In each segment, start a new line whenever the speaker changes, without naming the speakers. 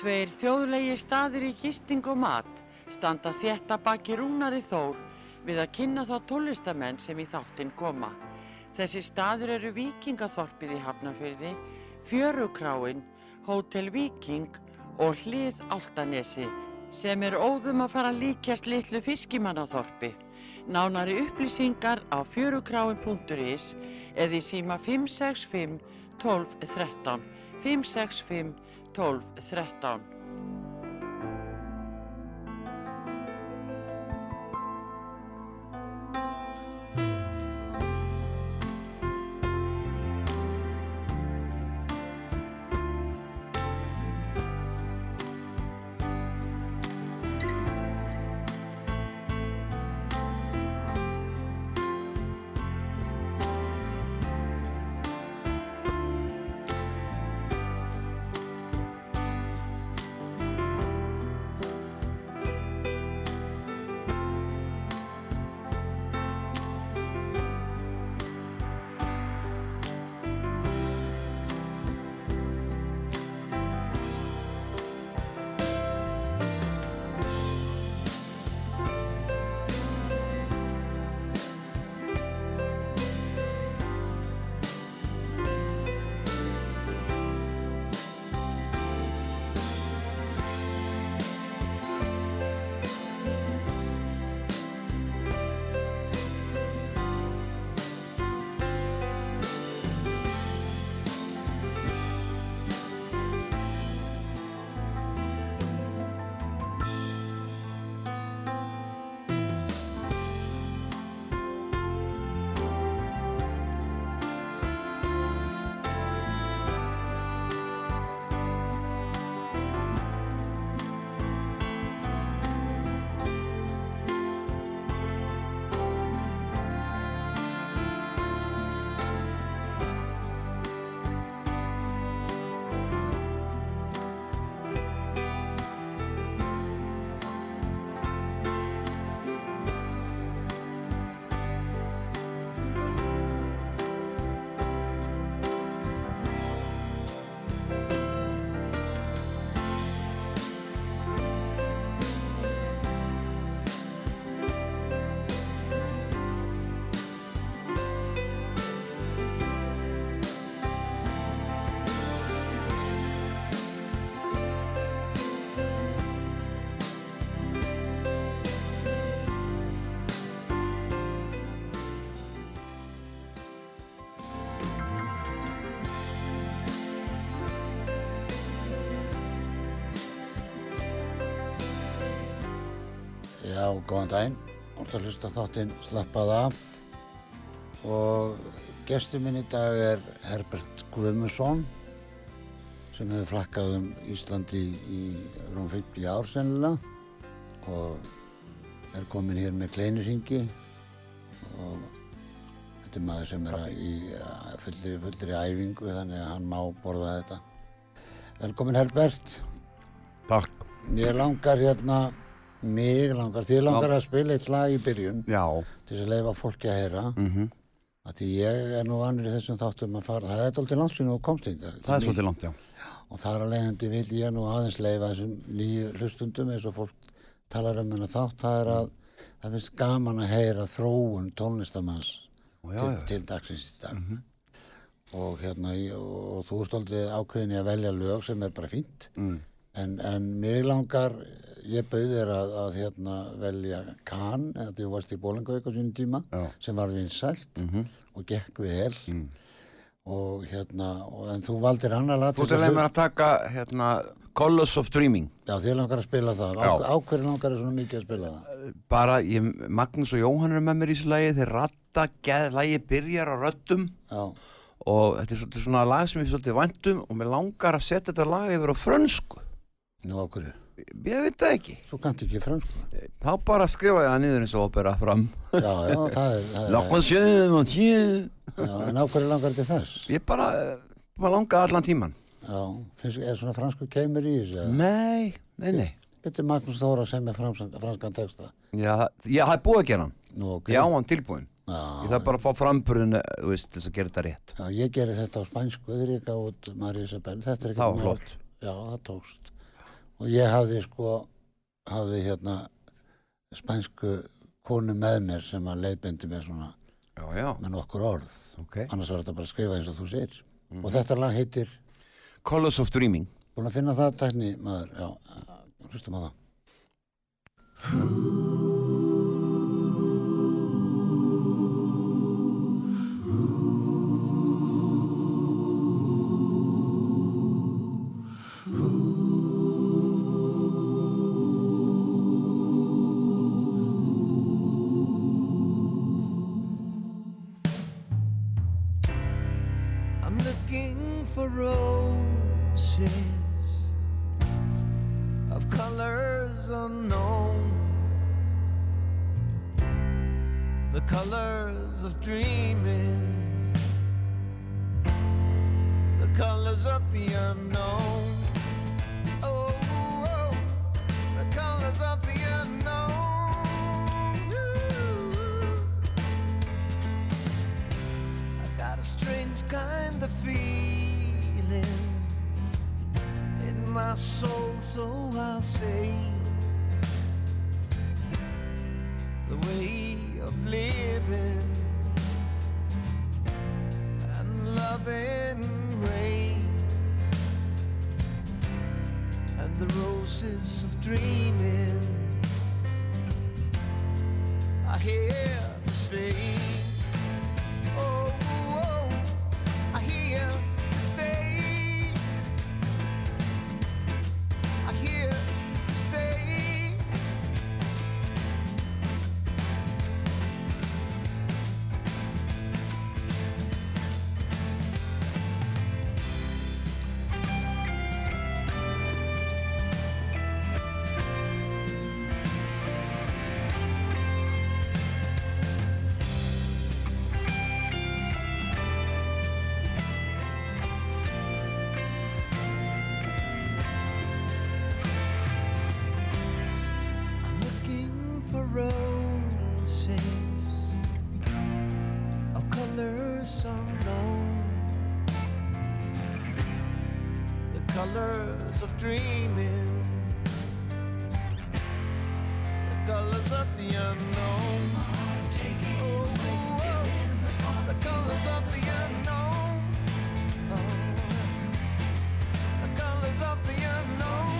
Tveir þjóðlegi staðir í gisting og mat standa þetta baki rúnari þór við að kynna þá tólistamenn sem í þáttinn koma. Þessi staður eru Víkingaþorpið í Hafnarfyrði, Fjörukráin, Hótel Víking og Hlið Altanesi sem er óðum að fara að líkjast litlu fiskimannaþorpi. Nánari upplýsingar á fjörukráin.is eða í síma 565 12 13 565 12 13
Já, góðan daginn. Þú að hlusta á þáttinn Slappað af og gestur minn í dag er Herbert Guðmusson sem hefur flakkað um Íslandi í rúm 50 ár sennilega og er kominn hér með kleinurhingi og þetta er maður sem er að- í að fullri, fullri æfingu þannig að hann má borða þetta. Velkomin Herbert.
Takk.
Mér langar hérna, mig langar, þið langar að spila eitt slag í byrjun
Já.
til þess að leifa fólki að heyra. Mm -hmm.
Mhm.
Því ég er nú vanur í þessum þáttum að fara, það er dálítið landsinu og komstingar.
Það er svolítið langt, já.
Og þar að leiðandi vil ég nú aðeins leifa þessum nýju hlustundum eins og fólk talar um hennar þátt, það er að það finnst gaman að heyra þróun tónlistamanns
Ó,
til,
já, já. Mhm.
til dagsins í dag. Og hérna, ég- og, og þú ert aldrei ákveðin í að velja lög sem er bara fínt. Mm. En, en mér langar, ég bauð þér að, að hérna, velja Kahn, eða þú varst í Bólingauk á sínum tíma,
Já. Mhm. Mm.
sem var vinsælt og gekk vel. Og hérna, og, en þú valdir hann að lata
Þú ert að leið mér að taka, hérna, Colors of Dreaming.
Já, þér langar að spila það. Á,
Já.
á hverju langar þér svona mikið að spila það?
Eh, Bara, ég, Magnús og Jóhann eru með mér í þessu lagi, þeir ratta, geð, lagi byrjar á röddum
Já,
og þetta er svolítið svona lag sem ég svolítið væntum og mér langar að setja þetta lag yfir á frönsku.
nú á hverju?
Ég, ég veit það ekki.
Þú kannt ekki fransku.
Þá bara skrifa ég það niður eins og opera fram.
Já, já, það er... það er-
Lokman sjöðum og sjöðum.
Já, en á hverju langar til þess?
Ég bara, eh, bara langa allan tíman.
Já, finnst, er svona fransku keimur í
Eh.
þessu? Mm.
Nei, nei, nei.
Bittu Magnús Þóra sem er franskan, franskan texta.
Já, ég hafði búið að gera hann.
Nú, ok.
Ég á hann tilbúin.
Já,
Ég þarf bara að fá framburðinu, þú veist, til þess að gera þetta rétt.
Já, ég gerði þetta á spænsku þegar ég gaf út María Isabel. Þetta er ekki
Það var flott.
Já, það tókst. og ég hafði sko hafði hérna spænsku konu með mér sem að leiðbindi mér svona
Já, já,
með nokkur orð
ok.
annars var þetta bara að skrifa eins og þú segir
Mhm.
og þetta lag heitir
Colors of Dreaming.
búin að finna það tækni maður já, eh, hlustum á það
I'm looking for roses of colors unknown, the colors of dreaming, the colors of the unknown. Oh, oh, the colors of the unknown. Ooh. I got a strange kind of feeling in my soul, so I'll say the way of living and loving way and the roses of dreaming are here to stay. Oh, oh, I hear to stay. I hear to stay. I'm looking for roses of colors unknown, the colors of dreaming, the colors of the unknown. Oh, oh, oh, the colors of the unknown. Oh, the colors of the unknown.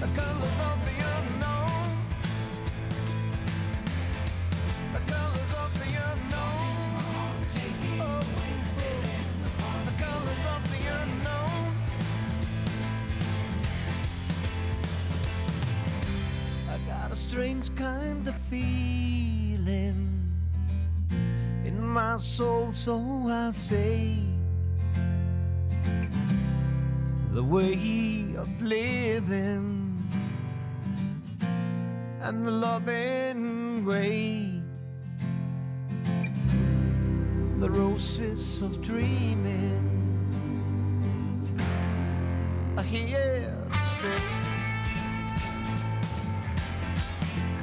The colors of the unknown. The colors of the unknown. Oh, the colors of the unknown. I got a strange kind of feeling in my soul, so I say. The way of living and the loving way, the roses of dreaming are here to stay.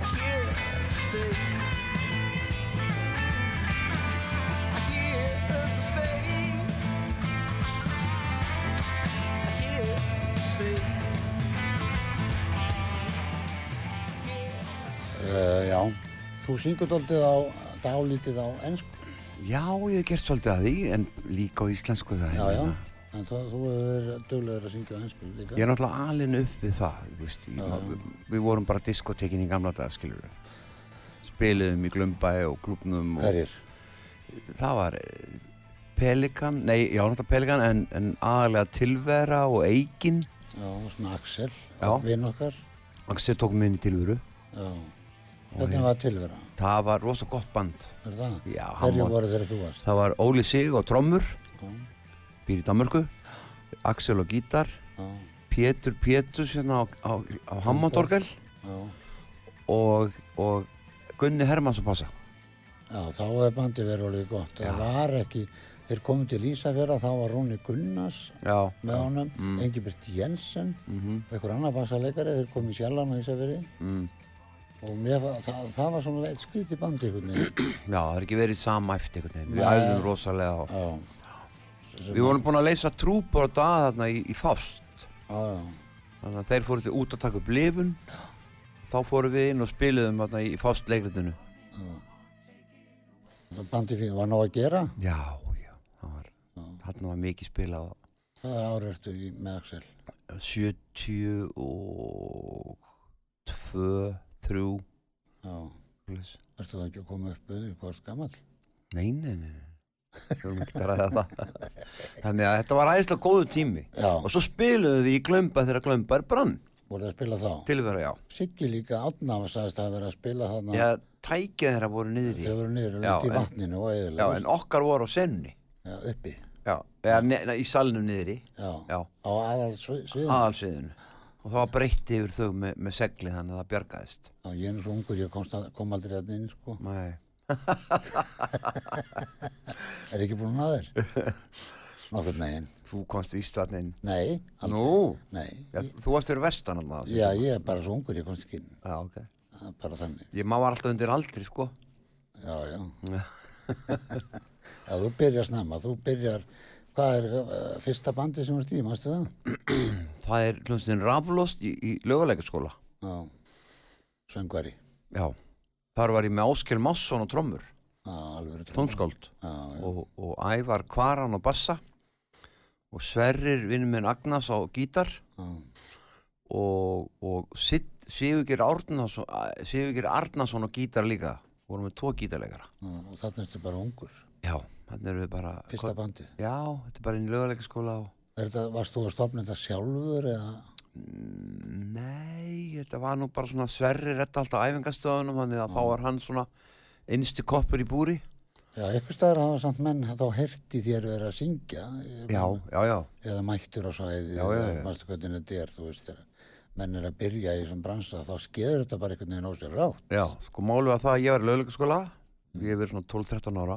Are here to stay. Are here to stay. Are here to stay.
uh, já, þú syngur daldið á dálítið á ennsku
Já, ég hef gert svolítið að því, en líka á íslensku það.
já,
ég
já,
meina.
en það, þú hefur duglegur að syngja á ennsku líka
Ég er náttúrulega alin upp við það, þú veist, ég,
Já.
við, við vorum bara diskotekin í gamla daga, skilur við. Spiliðum í Glömbæ og klubnum og
hverjir,
það var eh, Pelikan, nei, já, náttúrulega Pelikan, en, en aðalega Tilvera og Eikin.
já, svona Axel
Já.
vinn okkar
Axel tók minni Tilveru.
já. hvernig var tilvera,
Það var rosa gott band.
er það
Já, hann
hverju
var-
voru þegar þú varst
Það var Óli Sig og Trommur,
Já,
býr í Danmörku, Axel og Gítar,
já,
Pétur Péturs hérna á, á, á Hammondorgel
já,
og, og Gunni Hermanns að passa.
já, þá hefur bandið verið alveg gott það var ekki, þeir komið til Ísafjörða þá var Rúni Gunnars
Já,
með honum, mm. Engibert Jensen mm
Mhm,
-hmm. einhver annar bassarleikari, þeir komið sjallan á Ísafjörði
Mm.
og mér, var- það, það var svona eitt skrítið bandi einhvern veginn
já, það er ekki verið sama eftir einhvern veginn. Við
Nei.
æfðum rosalega og
Já, Sem
Við vorum búin að leysa trúbor og dað þarna í, í fást
Já, já,
Þannig að þeir fóru til út að taka upp lifun Þá fóru við inn og spiluðum þarna í fást leikritinu
já. Það bandi fyrir, var nóg að gera?
Já, já, það var,
Já.
þarna var mikið spilað á
Hvaða ár ertu í með Axel?
70 og 2, 3
Já, ertu það ekki að koma upp við, hvað er gammal?
Nei, nei, nei, nei Við vorum ekki að ræða það Þannig að þetta var æðislega góðu tími
Já,
Og svo spiluðum við í glömba þegar glömba er brann
voru það að spila þá?
Tilvera, já
Siggi líka átna var sagðist að vera að spila þarna.
Já, tækið þeirra voru niður í
Þau voru niður og
Já,
lítið í
en-
vatninu og
Já,
eðilega.
en okkar voru á senni
Já, uppi.
Já, eða ne, ne, í salnum niður í
Já,
Já,
á aðal sviðinu.
aðalsviðinu Og það var breytt yfir þau með, með segli þannig að það bjargaðist
Já, ég er svo ungur, ég komst að, kom aldrei hérna inn, sko.
Nei
Er ekki búin að þér? Nokkur neginn.
Þú komst í Íslandin
Nei, aldrei.
Nú,
Nei.
ja, þú varst fyrir vestan alltaf
Já, ég er bara svo ungur, ég komst ekki inn.
Já, ok
Það er Bara þannig.
Ég maður var alltaf undir aldri, sko
Já, já.
Já.
Já, þú byrjar snemma. Þú byrjar, hvað er uh, fyrsta bandi sem þú ert í, mástu það?
Það er hljómsveitin raflost í, í löguleikaskóla
Já. Söngvari.
Já Þar var ég með Áskil Másson og trommur
Já, alveg.
Tónskáld
Já, já.
og, og Ævar Kvaran og bassa Og Sverrir vinnum minn Agnars á gítar
já.
Og, og Sigurgir Arnason, Sigurgir Arnason og gítar líka Vorum með tvo gítarleikara
Já, og þarna ertu bara ungur,
Já, þannig erum við bara
fyrsta bandið.
Já, þetta er bara inn í löguleikaskóla og
Er þetta, varst þú að stopna þetta sjálfur eða?
Mm, Nei, þetta var nú bara svona sverri rétt alltaf á æfingastöðunum þannig að þá
Mm.
var hann svona innsti koppur í búri
Já, einhver staðar hafa samt menn þá herti þér verið að syngja. ég
Já,
meina,
já, já,
Eða mættur á svæði,
Já, já, já.
eða mástu hvernig þetta er, þú veist þegar menn er að byrja í þessum bransa, þá skeður þetta bara einhvern veginn á sér rátt.
já Sko málið var það að ég var í löguleikaskóla
Mm.
ég hef verið svona 12-13 ára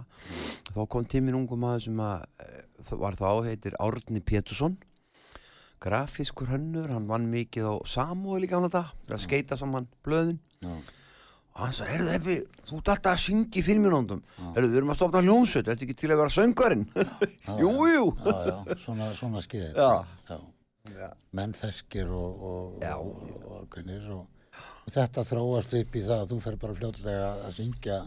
þá kom tímin ungum maður sem að eh, þ- var þá, heitir Árni Pétursson grafískur hönnur hann vann mikið á Samúi líka hann
Mm.
þetta að skeita saman blöðin
Já,
og hann sagði, heyrðu Heppi, þú ert alltaf að syngi fyrir mínúndum,
Já.
heyrðu, við erum að stofna hljómsveit ertu ekki til að vera söngarinn jú,
já.
jú
já, já, svona, svona skeður.
Já. Já.
Menn þeskir og, og,
Já.
og, og ákveðnir og, og þetta þróast upp í það að þú fer bara fljótlega að syngja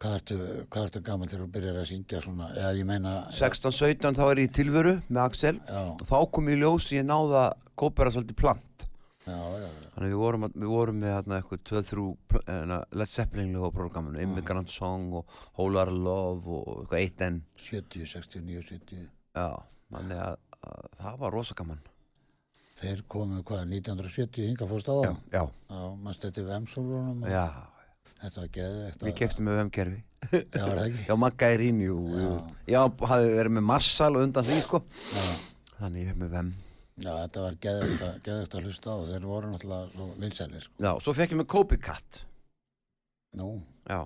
hvað ertu, hvað ertu gammal þegar þú byrjar að syngja svona, eða ég meina
16-17 þá er ég í tilveru með Axel
Já,
og þá kom ég í ljós ég náða kópera svolítið plant
já, já, já.
þannig að við vorum, að- við vorum með hérna, eitthvað 2-3 pl- hérna, Led Zeppelin lög á programminu Immigrant Song og Whole Lotta Love og eitthvað 1N
70, 69, 70
já, þannig að, að það var rosa gaman
Þeir komu hvað, 1970 hinga fórst á það?
já, já,
Já, mannst þetta við emsólunum og
já
þetta var geðvegt
við keftum með vemkerfi
Já, var það ekki?
já, Magga er inn, jú jú. já, hafði verið með Marsal og undan því sko.
Já.
þannig ég hef með vem
Já, þetta var geðvegt að, geðvegt að hlusta á og þeir voru náttúrulega svo vinsælir sko.
já, svo fekk ég með Copycat
Nú,
já,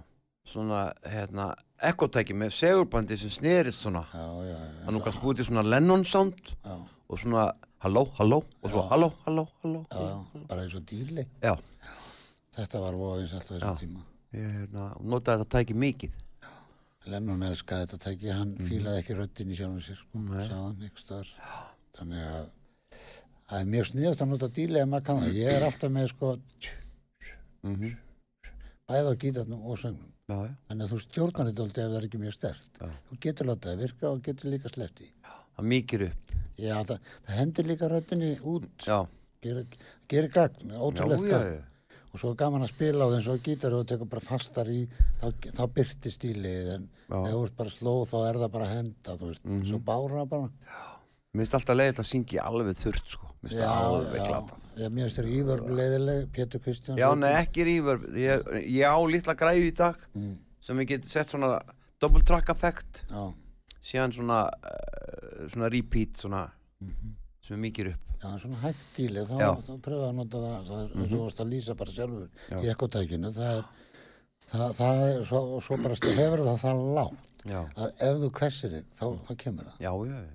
svona hérna, ekkotæki með segurbandi sem snerist svona
já, já, já
hann nú kannski búið til svona Lennon sound
Já,
og svona halló, halló og svo
Já.
halló, halló, halló
já, já, bara eins og dýrli
já,
Þetta var voða vinsælt á þessum
Já.
tíma
ég hérna, notaði þetta tæki mikið
Lennon elskaði þetta tæki, hann fílaði ekki röddinn í sjálfum sér, sko,
Mhm. Nei.
sagðan ykkur staðar. Þannig að það er mjög sniðut að nota díli ef maður kann það. Ég er alltaf með, sko,
mm
Mhm.
-hmm.
bæði á gítarnum og söngnum.
já, já.
Þannig að þú stjórnar þetta aldrei ef það er ekki mjög stert.
Já.
Þú getur látað að virka og getur líka sleppti.
það mikir upp
Já, það, það hendur líka röddinni út,
já,
gerir, gerir gagn,
já,
ótrúlegt
já,
gagn.
já.
Og svo er gaman að spila á þeim svo gítar og þú tekur bara fastar í, þá, þá byrti stílið, en
Já. Mhm.
ef þú ert bara slóð þá er það bara að henda, þú veist, svo bára bara.
mér finnst alltaf leiðið að syngja í alveg þurrt sko, mér finnst það alveg glata
Já, mér finnst þér Ívörg leiðileg, Pétur Kristjáns.
já, nei, ekki rýfur ég, ég á litla græðu í dag
Mm.
sem ég get sett svona double track effect
Já,
síðan svona, uh, svona repeat svona, sem mikir upp
já, svona hægt díli, þá,
Já. Mhm.
þá pröfaðu að nota það, það er mm -hmm. svo varst að lýsa bara sjálfur
Já.
í ekkotækinu, það er, það, það er, svo, svo bara stu- hefur það það lágt
já,
að ef þú kvessir þig, þá, þá kemur það.
já, já, já.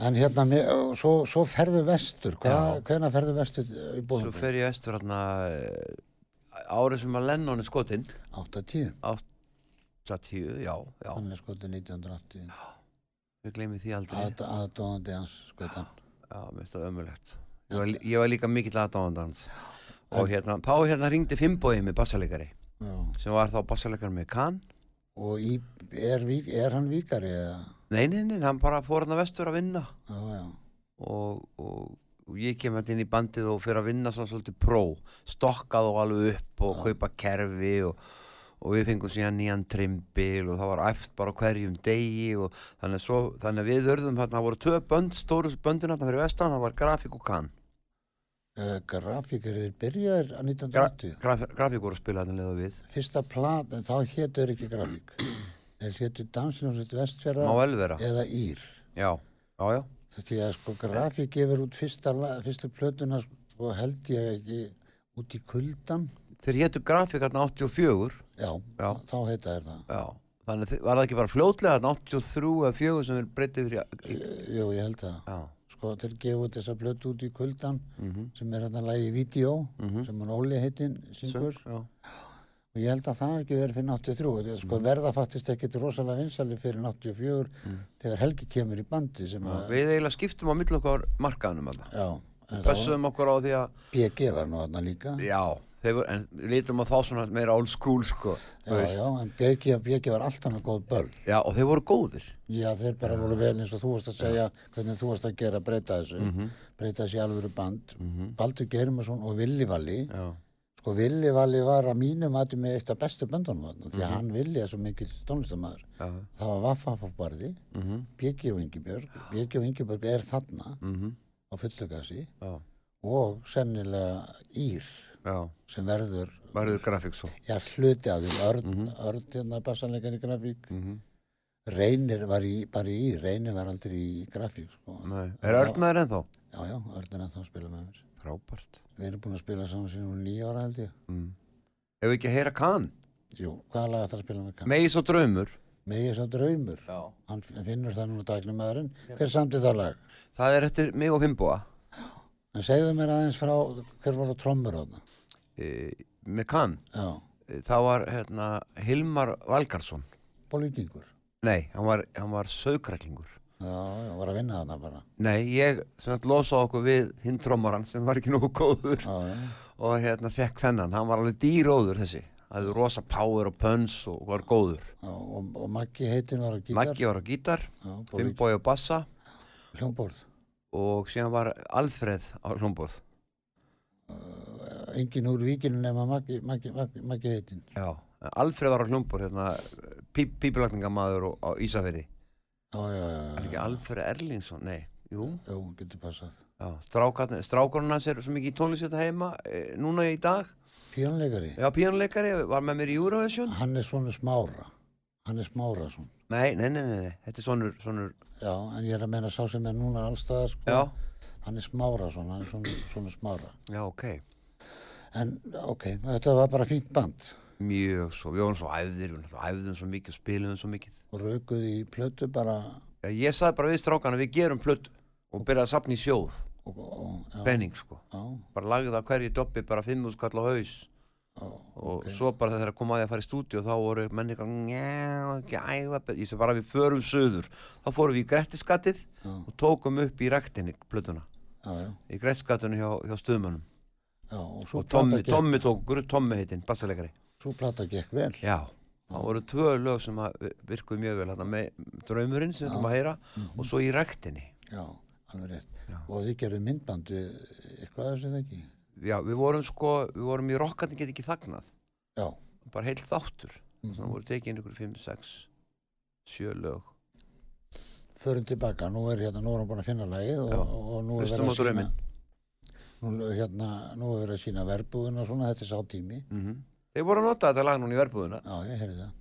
En hérna, mér, svo, svo ferðu vestur,
Já.
Hva, hvenær ferðu vestur í
Svo
bóðum?
fer ég eftir hérna árið sem að Lennon er skotinn
8-10,
80, já, já,
Mm. hann er skotu 1980.
Við gleymið því aldrei.
Aðd- aðdóðandi hans skautan
Já, mér finnst það ömulegt. Ég var, lí- ég var líka mikill aðdáðandi hans. Og hérna, Pá hérna ringdi Fimboi með bassaleikari,
Já.
sem var þá bassaleikari með Kahn.
og í, er, vík, er hann víkari eða
Nei, nei, nei, hann bara fór hann að vestur að vinna
já, já,
og, og, og ég kem hérna inn í bandið og fyrir að vinna svona svolítið pró, stokkað og alveg upp og
Já.
kaupa kerfi og, og við fengum síðan nýjan trimbil og það var æft bara á hverjum degi og þannig að, svo, þannig að við örðum hérna, það voru tvö bönd, stóru böndin hérna fyrir vestan, það var grafík og kann.
Uh, grafíkur þeir byrjaðir á 1980
Graf, grafík voru að spila hérna leða við,
fyrsta plat, en þá hétu þeir ekki grafík þeir hétu Dansljónsveit
má
Vestfjörða
vel vera,
eða Ír
já, já, já.
því að sko grafík gefur út fyrsta, la- fyrstu plötuna sko held ég ekki út í kuldan
Þeir hétu grafík hérna 84,
já,
Já.
þá heita þeir það
já, þannig að þi- var það ekki bara fljótlega hérna 83 eða 4 sem við breytið fyrir, í-
jú, ég held það
já.
sko þeir gefa út þessa plötu út í kuldan
mhm.
sem er þarna lagi Vídeó
Mhm.
sem hann Óli heitinn syngur
Söng, já.
og ég held að það hafi ekki verið fyrir 83 þetta er sko
Mhm.
verða fattist ekkit rosalega vinsæli fyrir 84 þegar Helgi kemur í bandi sem
Já,
að
Við eiginlega skiptum á milli okkar markaðanum að það.
já, en þá-
Pössum okkur á því að,
BG var nú þarna líka
já, þeir voru, en við lítum á þá svona meira old school, sko. þú
já,
veist.
já, en BG, BG var alltaf með góð börn
já, og þeir voru góðir.
já þeir bara voru vel eins og þú varst að segja hvernig þú varst að gera breyta þessu
Mhm.
breyta þessu í alvöru band Baldur Geirumarsson og Villi Valli
Já,
sko Villi Valli var að mínum aðtum með eitt af bestu böndunum þarna,
Mhm.
því að hann Villi er svo mikill tónlistamæður
já,
það var Vaffa á barði
mhm,
BG og Ingibjörg BG og Ingibjörg er þarna
mhm,
á fullu gasi
já,
og sennilega Ír
já,
sem verður
verður grafík svo.
já, hluti af því Örn, Örn hérna bassanleikan í grafík
Mhm,
Reynir var í, bara í, Reynir var aldrei í grafík, sko.
Nei, er öllmaður ennþá?
Já, já, Örn er ennþá að spila með mér.
Frábært.
Við erum búin að spila saman síðan hún nýja ára held ég.
Mm. Ef við ekki að heyra kann,
Jú, hvaða lag ætlar að spila með kann?
megis og draumur.
Megið sá draumur.
Já.
Hann f- finnur það núna dagnum maðurinn. Hver samti það lag?
Það er eftir mig og Fimboa,
En segðu mér aðeins frá, hver voru trommur þarna?
e, með kann.
Já,
Það var, hérna, Hilmar Valgarsson.
bólíkingur.
Nei, hann var, hann var sögræklingur.
Já, já, var að vinna þarna bara.
Nei, ég sem sagt losa okkur við hinn trommarann sem var ekki nógu góður
Já, já,
og hérna fekk þennan, hann var alveg dýróður þessi hann hafði rosa power og pöns og var góður
já og, og Maggi heitinn var á gítar.
Maggi var á gítar,
Já, bólíkingur.
Fimboi á bassa
Hljómborð.
og síðan var Alfred á hlumborð
Engin úr víkinu nema Maggi, Maggi, Maggi, Maggi heitinn.
Já, Alfred var á hlumborð hérna, pí, pípulagningamaður á Ísafirði
Já, já, já, já.
Er ekki Alfred Erlingsson? Nei, jú
Jú, getur passað.
Já, strákarnir- strákurinn hans er svo mikið tónlistjöta heima eh, núna í dag
Píónleikari?
Já, píjónleikari, var með mér í Eurovision
Hann er svona smára. Hann er smára svona.
Nei, nei, nei, nei, nei, þetta er svonur, svonur,
Já, en ég er að meina sá sem er núna allstaðar sko.
já,
Hann er smára svona, hann er svona, svona smára.
já, ok,
En ok, þetta var bara fínt band.
mjög svo, við vorum svo æfðir, við náttúrulega æfðum svo mikið, og spiluðum um svo mikið.
Og raukuði í plötu bara
Já, ég sagði bara við strákana, við gerum plötu og byrjaði að sapna í sjóð,
og, og, já,
penning, sko.
já,
Bara lagði það hverju doppi, bara fimm úrskall á haus
já,
og svo bara þegar það kom að ég að fara í stúdíu þá voru menni eitthvað, njá, ekki að æfa, bet-" ég segi bara við förum söður. Þá fórum við í Grettiskattið
Já.
og tókum upp í rektinni plötuna,
já, já,
í Grettiskattinu hjá, hjá stuðmönnum.
já. Og svo
Og Tommi,
gekk,
Tommi tók okkur, upp, Tommi heitinn, bassaleikari.
Svo plata gekk vel.
Já, það voru tvö lög sem að vi- virkuðu mjög vel, þarna með draumurinn sem við ætlum að heyra og svo í rektinni.
Mhm. Já, alveg rétt.
Já.
Og þið gerðu myndband við eitthvað þessu eða ekki?
Já, við vorum sko, við vorum í rokkandi get ekki þagnað,
Já.
bara heil þáttur.
Mm
Þannig voru tekin ykkur 5, 6, 7 lög.
Förum tilbaka, nú er hérna, nú er hann búin að finna lagið og,
Já.
og, og nú er
Hlustum
verið
á
að sína
drauminn.
nú, hérna, nú er verið að sína verbúðuna og svona, þetta er sá tími
Mm Þeir voru að nota þetta lag núna í verbúðuna.
Já, ég heyrði það.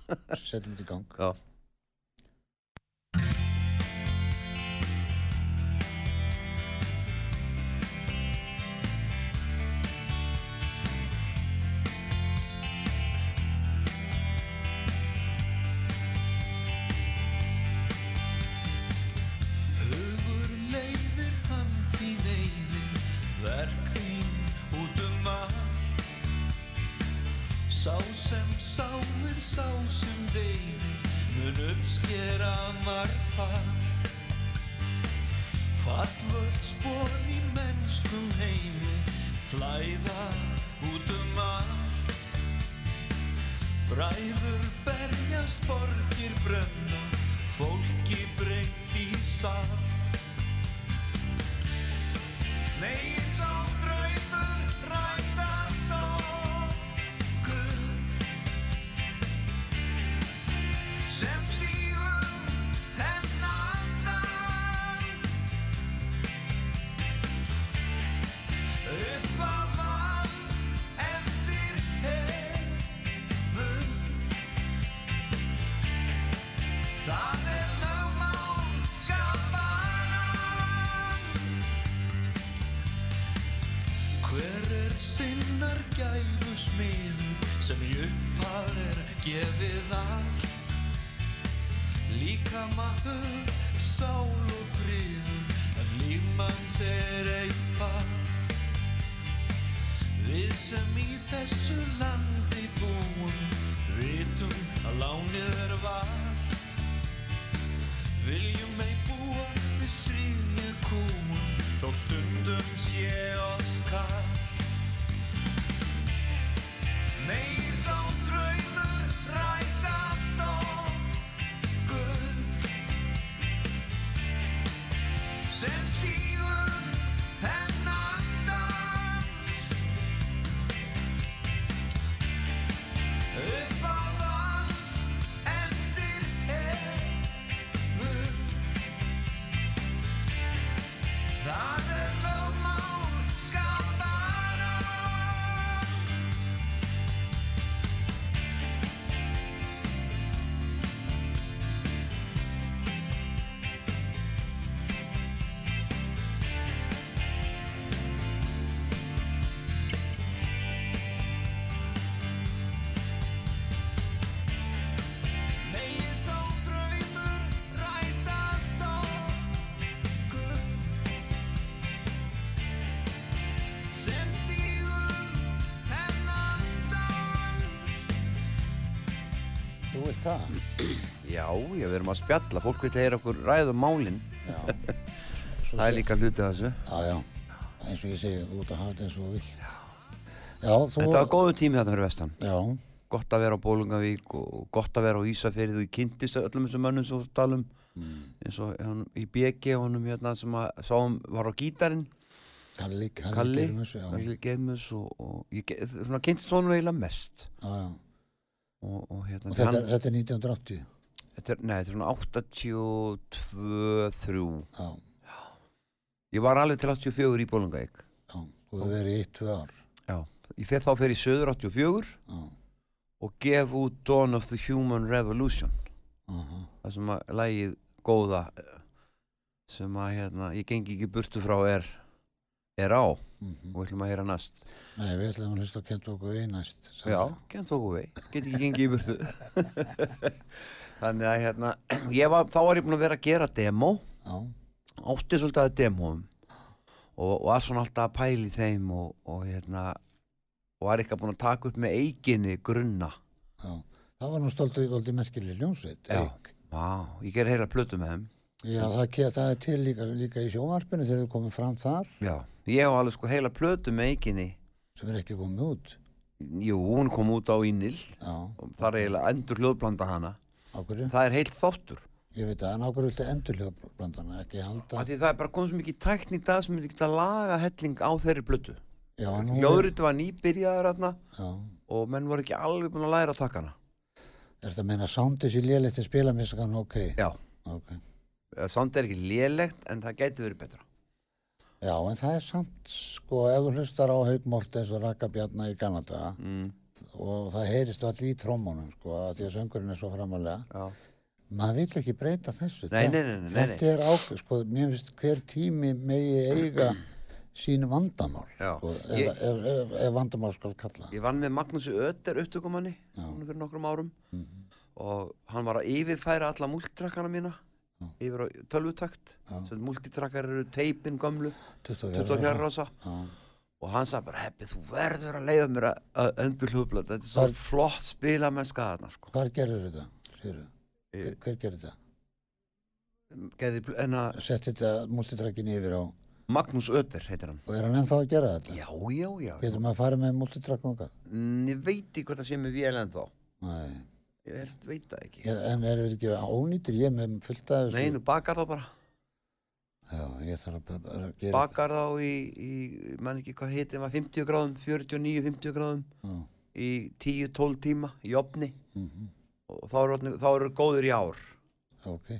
Setjum þetta í gang.
Já.
Hugur leiðir hann þín eyðir Verk þín út um allt Sá sem sáir, sá sem deyðir mun uppskera margfall Fallvöld spór í mennskum heimi flæða út um allt Bræður berjast borgir brenna fólki breytt í salt Megi sá draumur rætast okkur sem stífum þennan dans upp að vans eftir heimum það er lögmál skaparan hver er sinnar gæfu smiður sem í upphaf er gefið allt Líka maður, sál og friður, en lífmanns er einfalt. Við sem í þessu landi búum, vitum að lánið er vald. Viljum ei búa við stríðni kúum, þó stundum sé oss kall. Megi sá draumur rætast okkur, sem stífum þennan dans upp að vans endir heimum það er lögmál skaparans Megi sá draumur rætast okkur sem stífum þennan dans
Þú vilt það?
Já, já, við erum að spjalla, fólk vil heyra okkur ræðum málin
Já. Svo
Það er
sé-
líka hluti af þessu
Já, já. Eins og ég segi, þú ert að hafa þetta eins og þú vilt. Já. Já, þú...
Þetta var góðu tími þarna fyrir vestan
Já,
Gott að vera á Bólungavík og gott að vera á Ísafyrið og ég kynntist öllum þessum mönnum sem við talum um.
Mm.
eins og hann, í BG og honum hérna sem að sáum var á gítarinn
Kalli, Kalli,
Kalli,
Gyrmus, já.
Kalli Geimus og, og ég ge- svona kynntist honum eiginlega mest
Já, já.
og, og hérna
Og þetta,
hann-
þetta er 1980.
þetta er, nei, þetta er svona 82, 3
Já,
Ég var alveg til 84 í Bólungavík
já. Þú hefur verið í eitt, tvö ár.
Já, ég fer þá fyrir í söður 84
Já,
og gef út Dawn of the Human Revolution
aha.
það sem að lægið góða eh, sem að hérna, ég gengi ekki burtu frá er, er á og
Mhm.
við ætlum að heyra næst
Nei, við ætlum að hlusta á kent okkur við næst. sagði
Já,
ég.
genn tóku við, get ekki gengið í burtu Þannig að hérna ég var, þá var ég búinn að vera að gera demo
Já,
átti svolítið að demóum og, og að svona alltaf að pæli þeim og, og hérna og var eitthvað búinn að taka upp með eiginni grunna
já. Það var nú stoltið, stoltið merkileg hljómsveit.
Já.
Eik.
Vá, ég ger heila plötu með þeim
Já, það, ke- það er til líka, líka í sjónvarpinu þegar við komum fram þar,
Já, ég hef alveg sko heila plötu með eiginni
sem er ekki komið út.
Jú, hún kom út á Ínil
Já,
og það er eiginlega endur hljóðblanda hana
á hverju?
Það er heilt þáttur
Ég veit að, en á hverju viltu endur hljóðblandana, ekki halda?
af Því það er bara komið svo mikið tækn í dag sem er ekki að laga helling á þeirri plötu
Já, en hún...
Ljóðrið var nýbyrjaður þarna
Já.
og menn voru ekki alveg búin að læra að taka hana
Er þetta að meina soundið sér léleitt að spila með sagan ok?
Já,
Ok.
eða samt er ekki lélegt en það gæti verið betra
Já, en það er samt, sko, ef þú hlustar á Haug Mortens og Raka Bjarnar í Kanada
mm.
og það heyrist allir í trómunum, sko, að því að söngurinn er svo framalega,
Já,
maður vill ekki breyta þessu.
Nei,
Það-
nei, nei, nei, nei,
Þetta er ákveð, sko, mér finnst hver tími megi eiga sín vandamál,
Já.
sko, ef,
Ég-
ef, ef, ef vandamál skal kalla.
ég vann með Magnúsi Ötter upptökumanni
Já. Mhm.
núna fyrir nokkrum árum og hann var að yfirfæra alla múltrakkana mína
Já.
yfir á tölvutakt
Já.
sem múltitrakkar eru teipin gömlu 24
24 ára.
rosa
Já.
og hann sagði bara heppi þú verður að leiða mér að- að endur hljóðblöð þetta er svo
Hvar-
flott spila með skaðarna sko.
Hvar gerður þetta, sérðu? Hver, hver gerir þetta?
Gæði, pl- en að
Sett þetta multitrackin yfir á og
Magnús Öder heitir hann
er hann ennþá að gera þetta?
Já, já, já
Getur maður að fara með multitrack nokkað?
Mm, Ég veit ekki hvort það sé með vél en þá
Nei.
Ég er- veit það ekki
Ég- En er þeir ekki ónýtir? Ég er með fullt af þessu.
Nei, nú bakar þá bara
Já, ég þarf að, bara að gera
Bakar þá í, í mann ekki hvað heitir maður 50 gráðum, 49, 50 gráðum
Já.
í 10-12 tíma í opni
Mhm.
og þá eru, orðnir- þá eru góður í ár
Ok.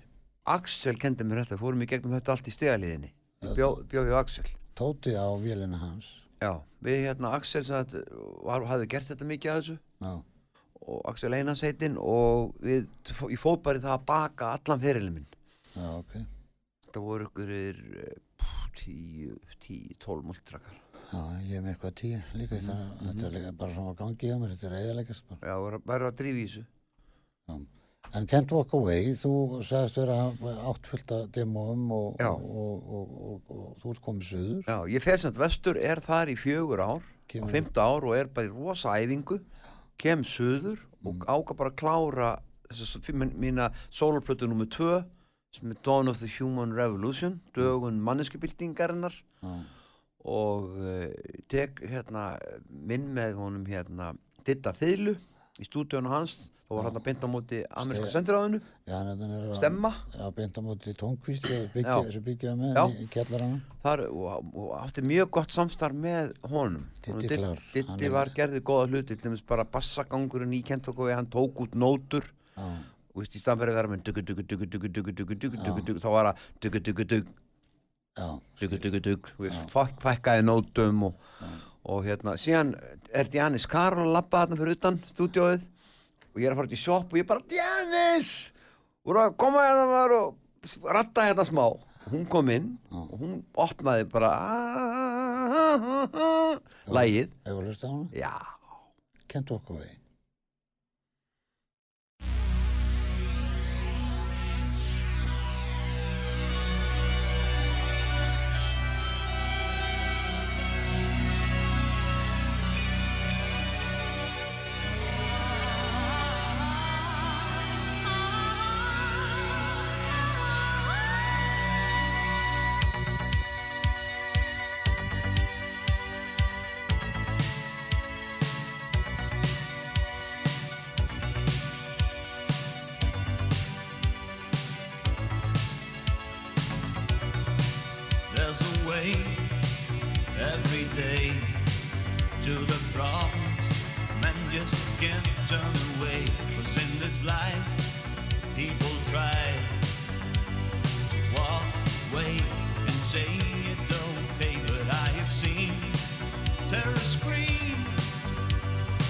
Axel kendi mér þetta, fórum í gegnum þetta allt í stegaliðinni
Já,
Ég bjó, bjó við Axel
Tóti á vélina hans.
Já, við hérna Axel sem sagt, var, hafði gert þetta mikið að þessu
Já.
og Axel Einars heitinn og við, ég fóð bara í það að baka allan fyrirlið minn
Já, ok.
Þetta voru eh, ykkur 10, 10, 12 múltrakar
Já, ég er með eitthvað tíu líka. Mm
Mhm,
Þetta er líka bara svona á gangi hjá mér. Þetta er eðalegast bara.
Já, verður verður að drífa í þessu
En Can't Walk Away, þú sagðist vera að hafa átt fullt af demóum og,
Já.
og, og, og, og, og þú ert komið söður.
Já, ég fer samt vestur, er þar í fjögur ár
Kemur-
á fymta ár og er bara í rosa æfingu kem suður
Mm.
og áka bara að klára þess að mína sólplötu nummer 2 sem er Dawn of the Human Revolution dögun manneskjubildingarinnar
Mm. Já.
og uh, tek hérna minn með honum hérna Ditta Fiðlu í stúdíónu hans þá var hann að bynda á móti ameríska sendiráðinu
Já, hann er- hann er að-
stemma
Já, beint á móti tónkvist
Já.
sem byggjaði með
Já.
í- í kjallaranum.
þar og, og átti mjög gott samstarf með honum
Diddi
Honum Didd-
klár. Hann
Diddi
er-
var gerði góða hluti til þess bara bassagangurinn í kentokofi hann tók út nótur
Já,
og veist, í staðan fyrir að vera með dugu dugu dugu dugu dugu dugu dugu dugu dugu þá var það dugu dugu dug
já,
dugu dugu dug og veist, fæk- fækkaði nótum og, og hérna síðan er Janis Karol að labba þarna fyrir utan stúdíóið og ég er að fara út í sjoppu og ég bara Janis voru að koma hérna maður og ratta hérna smá og hún kom inn og hún opnaði bara lægið
hefur hlust á hana?
já
Can't Walk Away.
There's a way every day to the problems man just can't turn away. 'Cause in this life, people try to walk away and say it's okay. But I have seen terror scream,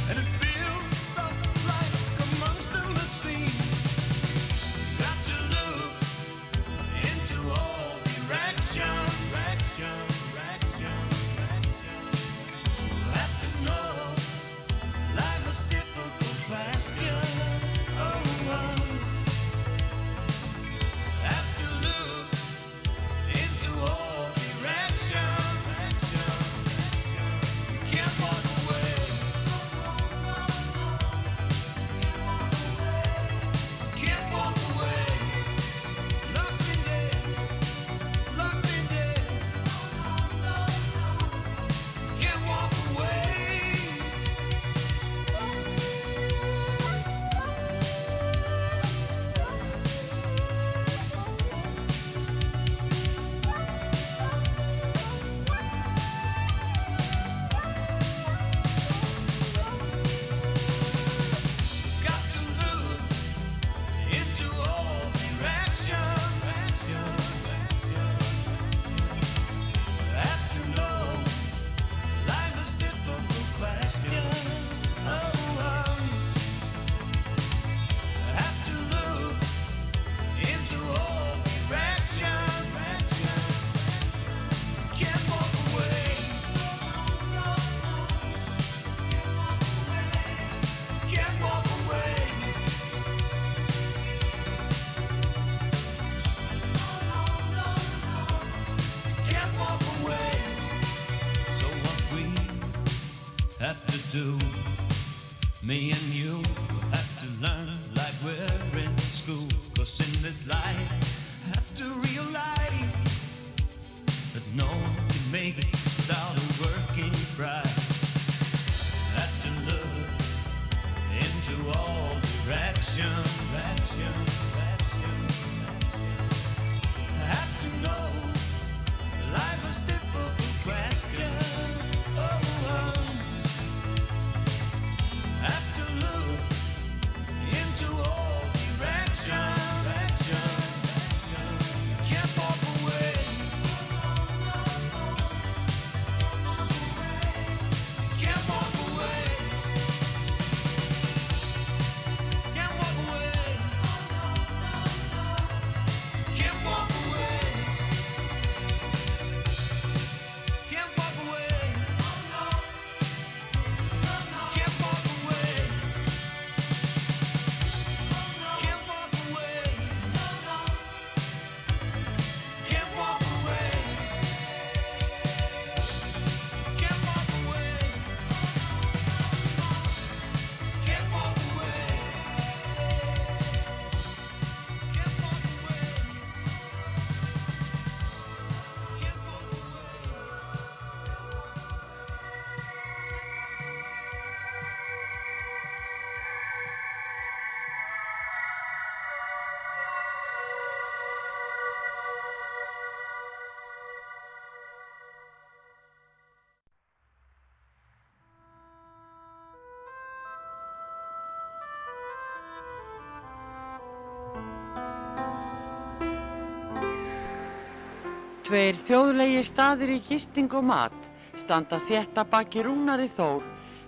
and it feels up like a monster machine. Got to look into all direction, direction, direction, direction. We'll have to know life is difficult question. Oh, have to look into all direction, direction, direction. You can't walk away. Can't walk away. Locked in there, locked in there. Can't walk away. Got to look into all directions. Have to know life is difficult question. Oh, have to look into all directions. Can't walk away. Can't walk away. can't walk away. So what we have to do, me and you have to learn like we're in school. this life, have to realize that no one can make it without a working price. Have to look into all direction, direction, direction. Have to know life is difficult question. Oh, oh. have to look into all direction. Can't walk away. Can't walk away. Can't walk away. Can't walk away. Can't walk away. Can't walk away. Can't walk away. Can't walk away. Can't walk away. Can't walk away. Can't walk away. Can't walk away.
Tveir þjóðlegi staðir í gisting og mat standa þétt að baki Rúnari Þór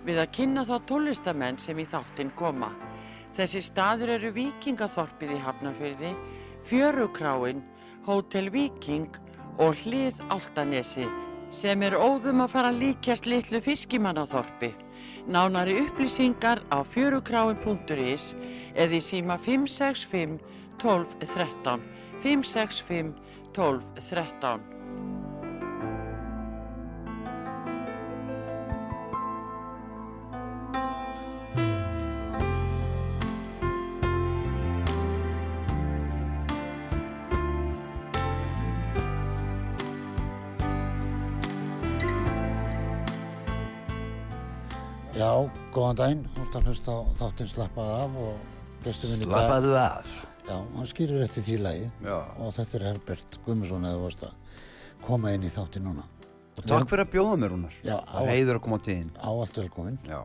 við að kynna þá tólistamenn sem í þáttinn koma. Þessi staður eru Víkingaþorpið í Hafnarfyrði, Fjörukráin, Hótel Víking og Hlið Altanesi sem er óðum að fara að líkjast litlu fiskimannaþorpi. Nánari upplýsingar á fjörukráin.is eða í síma 565 12 13 565 12 13
Já, góðan daginn, þú ert að hlusta á þáttinn Slappaðu af og gestur minn í dag.
Slappaðu af
Já, hann skýrir eftir því lagi
Já.
og þetta er Herbert Guðmundsson eða varst að koma inn í þáttinn núna.
Og takk fyrir að bjóða mér húnar
Já, á-
Heiður að koma á tíðin
Áallt velkominn.
Já,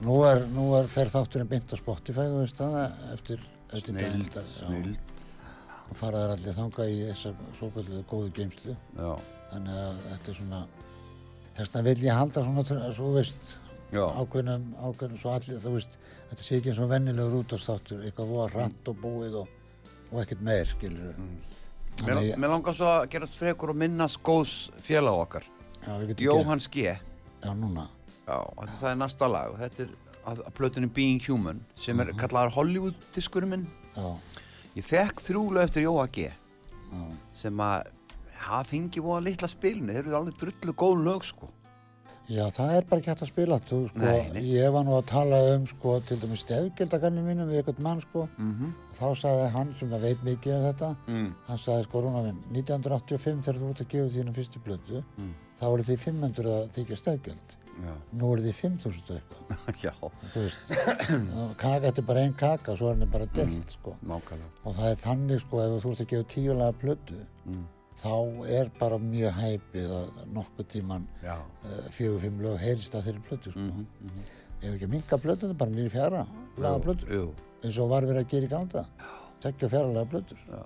Nú er, nú er, fer þátturinn beint á Spotify, þú veist það, eftir, eftir daginn í
snild,
dag. Já.
snild
Og fara þær allir þangað í þessa svo góðu geimslu.
Já,
Þannig að þetta er svona, þessna vil ég halda svona, tr- svo veist,
já,
ákveðnum, ákveðnum, svo allir, þú veist, þetta sé ekki eins og vennilegur útastáttur, eitthvað voða hratt og búið og, og ekkert meir, skilur
Mm.
við.
mér, mér langar svo að gerast frekur og minnast góðs félag okkar
já, við getum
Jóhann G
gert- Já, núna.
Já, af því það er næsta lag og þetta er að, að plötunum Being Human sem er kallaðar Hollywood-diskurinn minn
Já,
Ég fekk þrjúlu eftir Jóa G
já,
sem að það fengi voða litla spilinu, þeir eru alveg drullu góð lög sko
já, það er bara ekki hægt að spila, þú, sko,
Nei, nei.
ég var nú að tala um, sko, til dæmis stefgildagarnir mínum við eitthvað mann, sko,
mm -hmm.
og þá sagði hann sem að veit mikið um þetta,
mm.
hann sagði, sko, Rúnar minn, 1985 þegar þú ert að gefa þínum fyrstu blödu,
Mm.
þá voru þið 500 að þykja stefgild,
Já,
nú voru þið 5000 og eitthvað.
já,
þú veist, kaka, þetta er bara einn kaka, svo er henni bara delt,
Mm.
sko.
nákvæmlega
Og það er þannig, sko, ef þú ert að gefa tíulega plötu,
Mm.
þá er bara mjög hæpið að nokkuð tíman
Já,
uh, fjögur, fimm lög heyrist að þeirri plötu, sko. Ef ekki að minka plötu, þetta er bara nýri fjara, laga plötur,
Mhm, jú,
eins og var verið að gera í galda, tekja og fjara laga plötur.
já,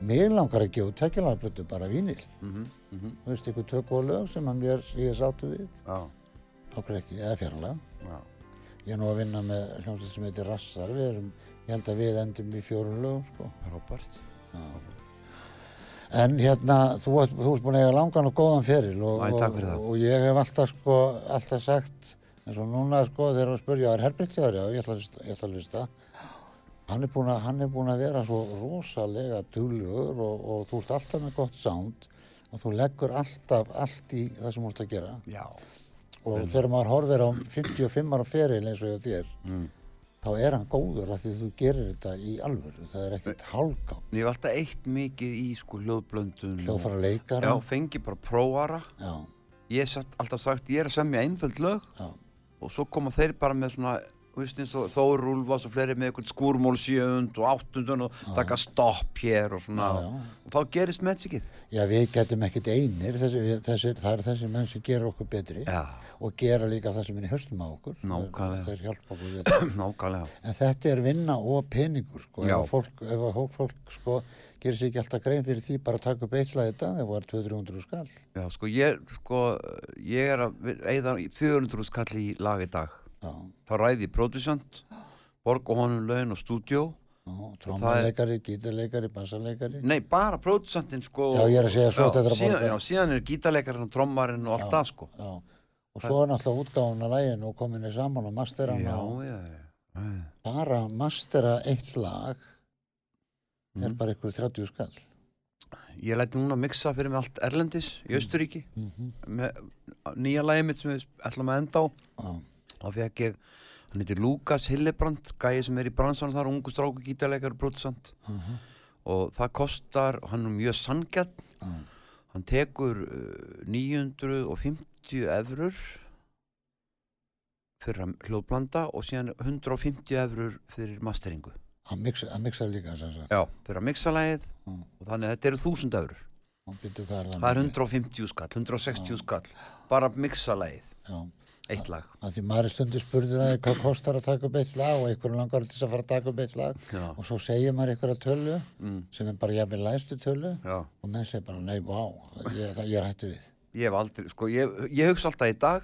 Mér langar að gefa tekja laga plötu, bara vínil.
mm -hmm.
Þú veist, einhver tök og lög sem að mér, ég er sáttu við,
já,
okkur ekki, eða fjara laga.
já,
Ég er nú að vinna með hljómsveit sem heitir Rassar, við erum, ég held að við endum í fjórun lögum, sko.
Robert
En hérna, þú ert, þú ert búin að eiga langan og góðan feril og,
Æ, takk
og,
fyrir það.
og ég hef alltaf, sko, alltaf sagt, eins og núna, sko, þegar að spurja, er herbygglegar, já, ég ætla að hlusta- ég ætla að hlusta. Hann er búin að, hann er búin að vera svo rosalega duglegur og, og þú ert alltaf með gott sound og þú leggur alltaf allt í það sem þú ert að gera.
Já, Mm.
og þegar maður horfir á 55 ára feril eins og ég á þér þá þá er hann góður að því þú gerir þetta í alvöru það er ekkert hálgá
Ég var alltaf eitt mikið í sko hljóðblöndun og-
hljófara leikara
Já, fengi bara prófara
já,
Ég hef satt- alltaf sagt, ég er að semja einföld lög
já,
og svo koma þeir bara með svona þú veist eins og Þór Úlfas og fleiri með eitthvað skúrmól sjöund og áttundun og taka stopp hér og svona
Já, já.
og þá gerist mennsikið
já, við getum ekkert einir þessi, þessi, það er þessi menn sem gerir okkur betri
Já,
og gera líka það sem er í höstum á okkur
Nákvæmlega.
þeir hjálpa okkur við þetta
nákvæmlega
en þetta er vinna og peningur sko. ef
Já.
að fólk, ef að fólk, fólk sko, gerir sér ekki alltaf grein fyrir því bara að taka upp eitthvað þetta ef það var 200-300 skall
Já, sko ég, sko, ég er að eigða 400 skall í lag í dag
já,
þá ræði ég pródusjönd borga honum laun og stúdjó
já, trómanleikari, gítarleikari, bassarleikari
Nei, bara pródusjöndin sko
Já, ég er að segja, svo þetta er að
síðan,
borga.
Já, síðan er gítarleikarinn og trommarinn og allt það sko
já. og svo er náttúrulega útgáfun að læginu og komin í saman og mastera
Já,
hann og
já, já Já,
bara mastera eitt lag er bara ykkur 30 skall
Ég læti núna mixa fyrir mig allt Erlendis í Austuríki með nýja lagið mitt sem við ætlum að enda á
já,
þá fekk ég, hann heitir Lukas Hillebrand gæði sem er í bransanum þar, ungu stráku gítarleikar og brútsand og það kostar, og hann er mjög sangjarn
já,
hann tekur uh, 950 efrur fyrir að hljóðblanda og síðan 150 efrur fyrir masteringu
að mixa, að mixa líka sem sagt.
Já. fyrir að mixa lagið
Mm.
og þannig að þetta eru 1000 efrur
og býttu hvað er það
það er
mikið?
150 skall, 160 skall bara að mixa lagið,
já.
eitt lag
að því maður er stundu spurði það hvað kostar að taka upp eitt lag og einhverjum langar til þess að fara að taka upp eitt lag
Já.
og svo segir maður einhverja tölu
Mm.
sem er bara jafnvel læstu tölu
Já.
og menn segir bara nei, vá, ég, það, ég er hættu við
ég hef aldrei, sko, ég, ég hugsa alltaf í dag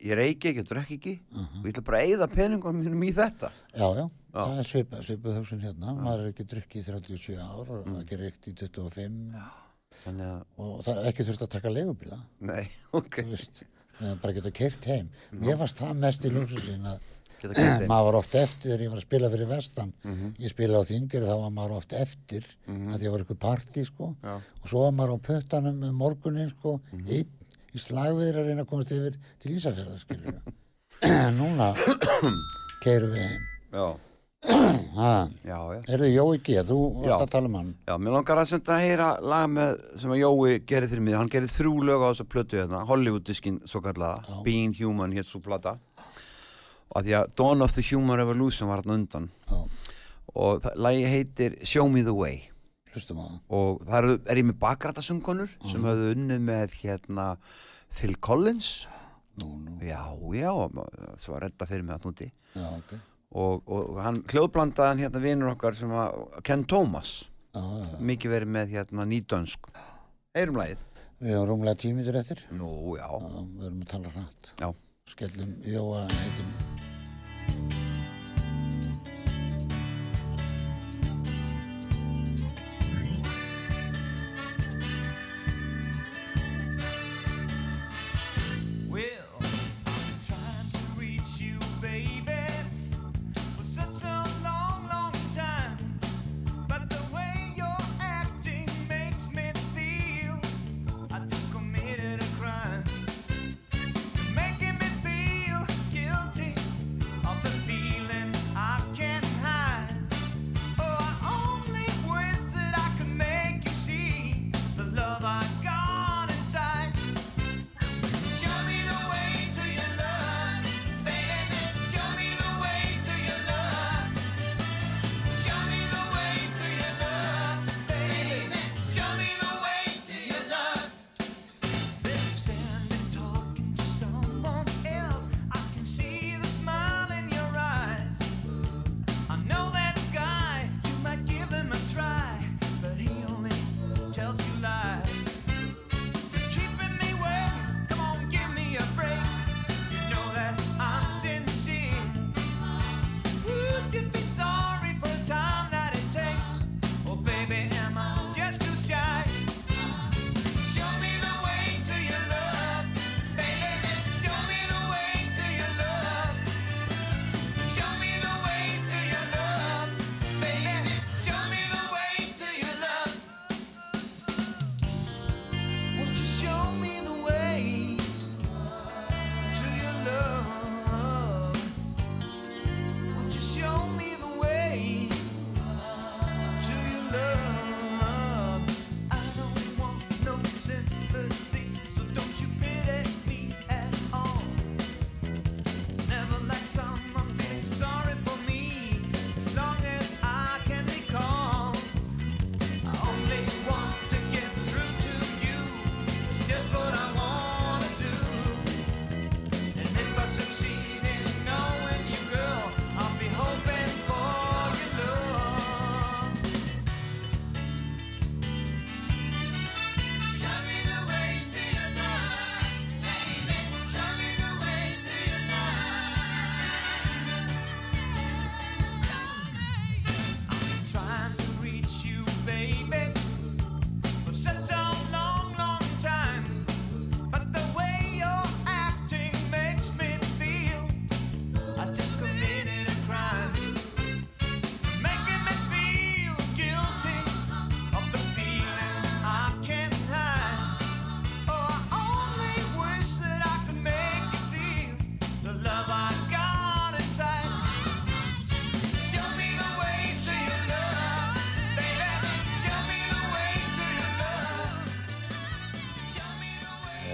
ég reyki ekki, ég drekki ekki og ég ætla bara að eyða peningum mínum í þetta
já, já, það er svipa, svipuð hugsun hérna maður er ekki drukkið í 37 ár og ekki reykt í 25
þannig að,
og það er ekki þurft að taka legubíla
nei, ok
þú veist, það er bara geta keift heim mér fannst það mest í lúksusin að
geta gett einn,
maður var oft eftir þegar ég var að spila fyrir vestan
Mhm.
ég spila á þingir þá var maður oft eftir mm -hmm. að því að var eitthvað partí sko
Já. Mhm.
og svo var maður á puttanum um morgunin sko einn í slagviðir að reyna að komast yfir til Ísafjörða skilur núna keirum við heim
já,
ha.
já, já
er þið Jói G, þú varst
Já.
að tala um hann
já, mér langar að senda að heyra lag með sem að Jói gerir fyrir mig, hann gerir þrjú lög á þessa plötu hérna, Hollywood-diskin svo kallaða,
Já.
Being Human hétt svo plata og að því að Dawn of the Human Revolution var hann undan
Já,
og það- lagið heitir Show Me The Way
hlustum á það
og það eru, er ég með bakrætasöngunur sem höfðu unnið með hérna Phil Collins
nú, nú,
já, já, ma- svo að redda fyrir mig að núti
já, ok
og, og hann hljóðblandaðan hérna vinur okkar sem var Ken Thomas
já, já. já.
mikið verið með hérna nýdönsk heyrum lagið
við erum rúmlega tímitur eftir
nú, já,
Já, við erum að tala hratt
já,
skellum Jóa heitum
Well, I've trying to reach you, baby, for such a long, long time. But the way you're acting makes me feel I just committed a crime. Making me feel guilty of the feeling. Oh,
Oh, Oh,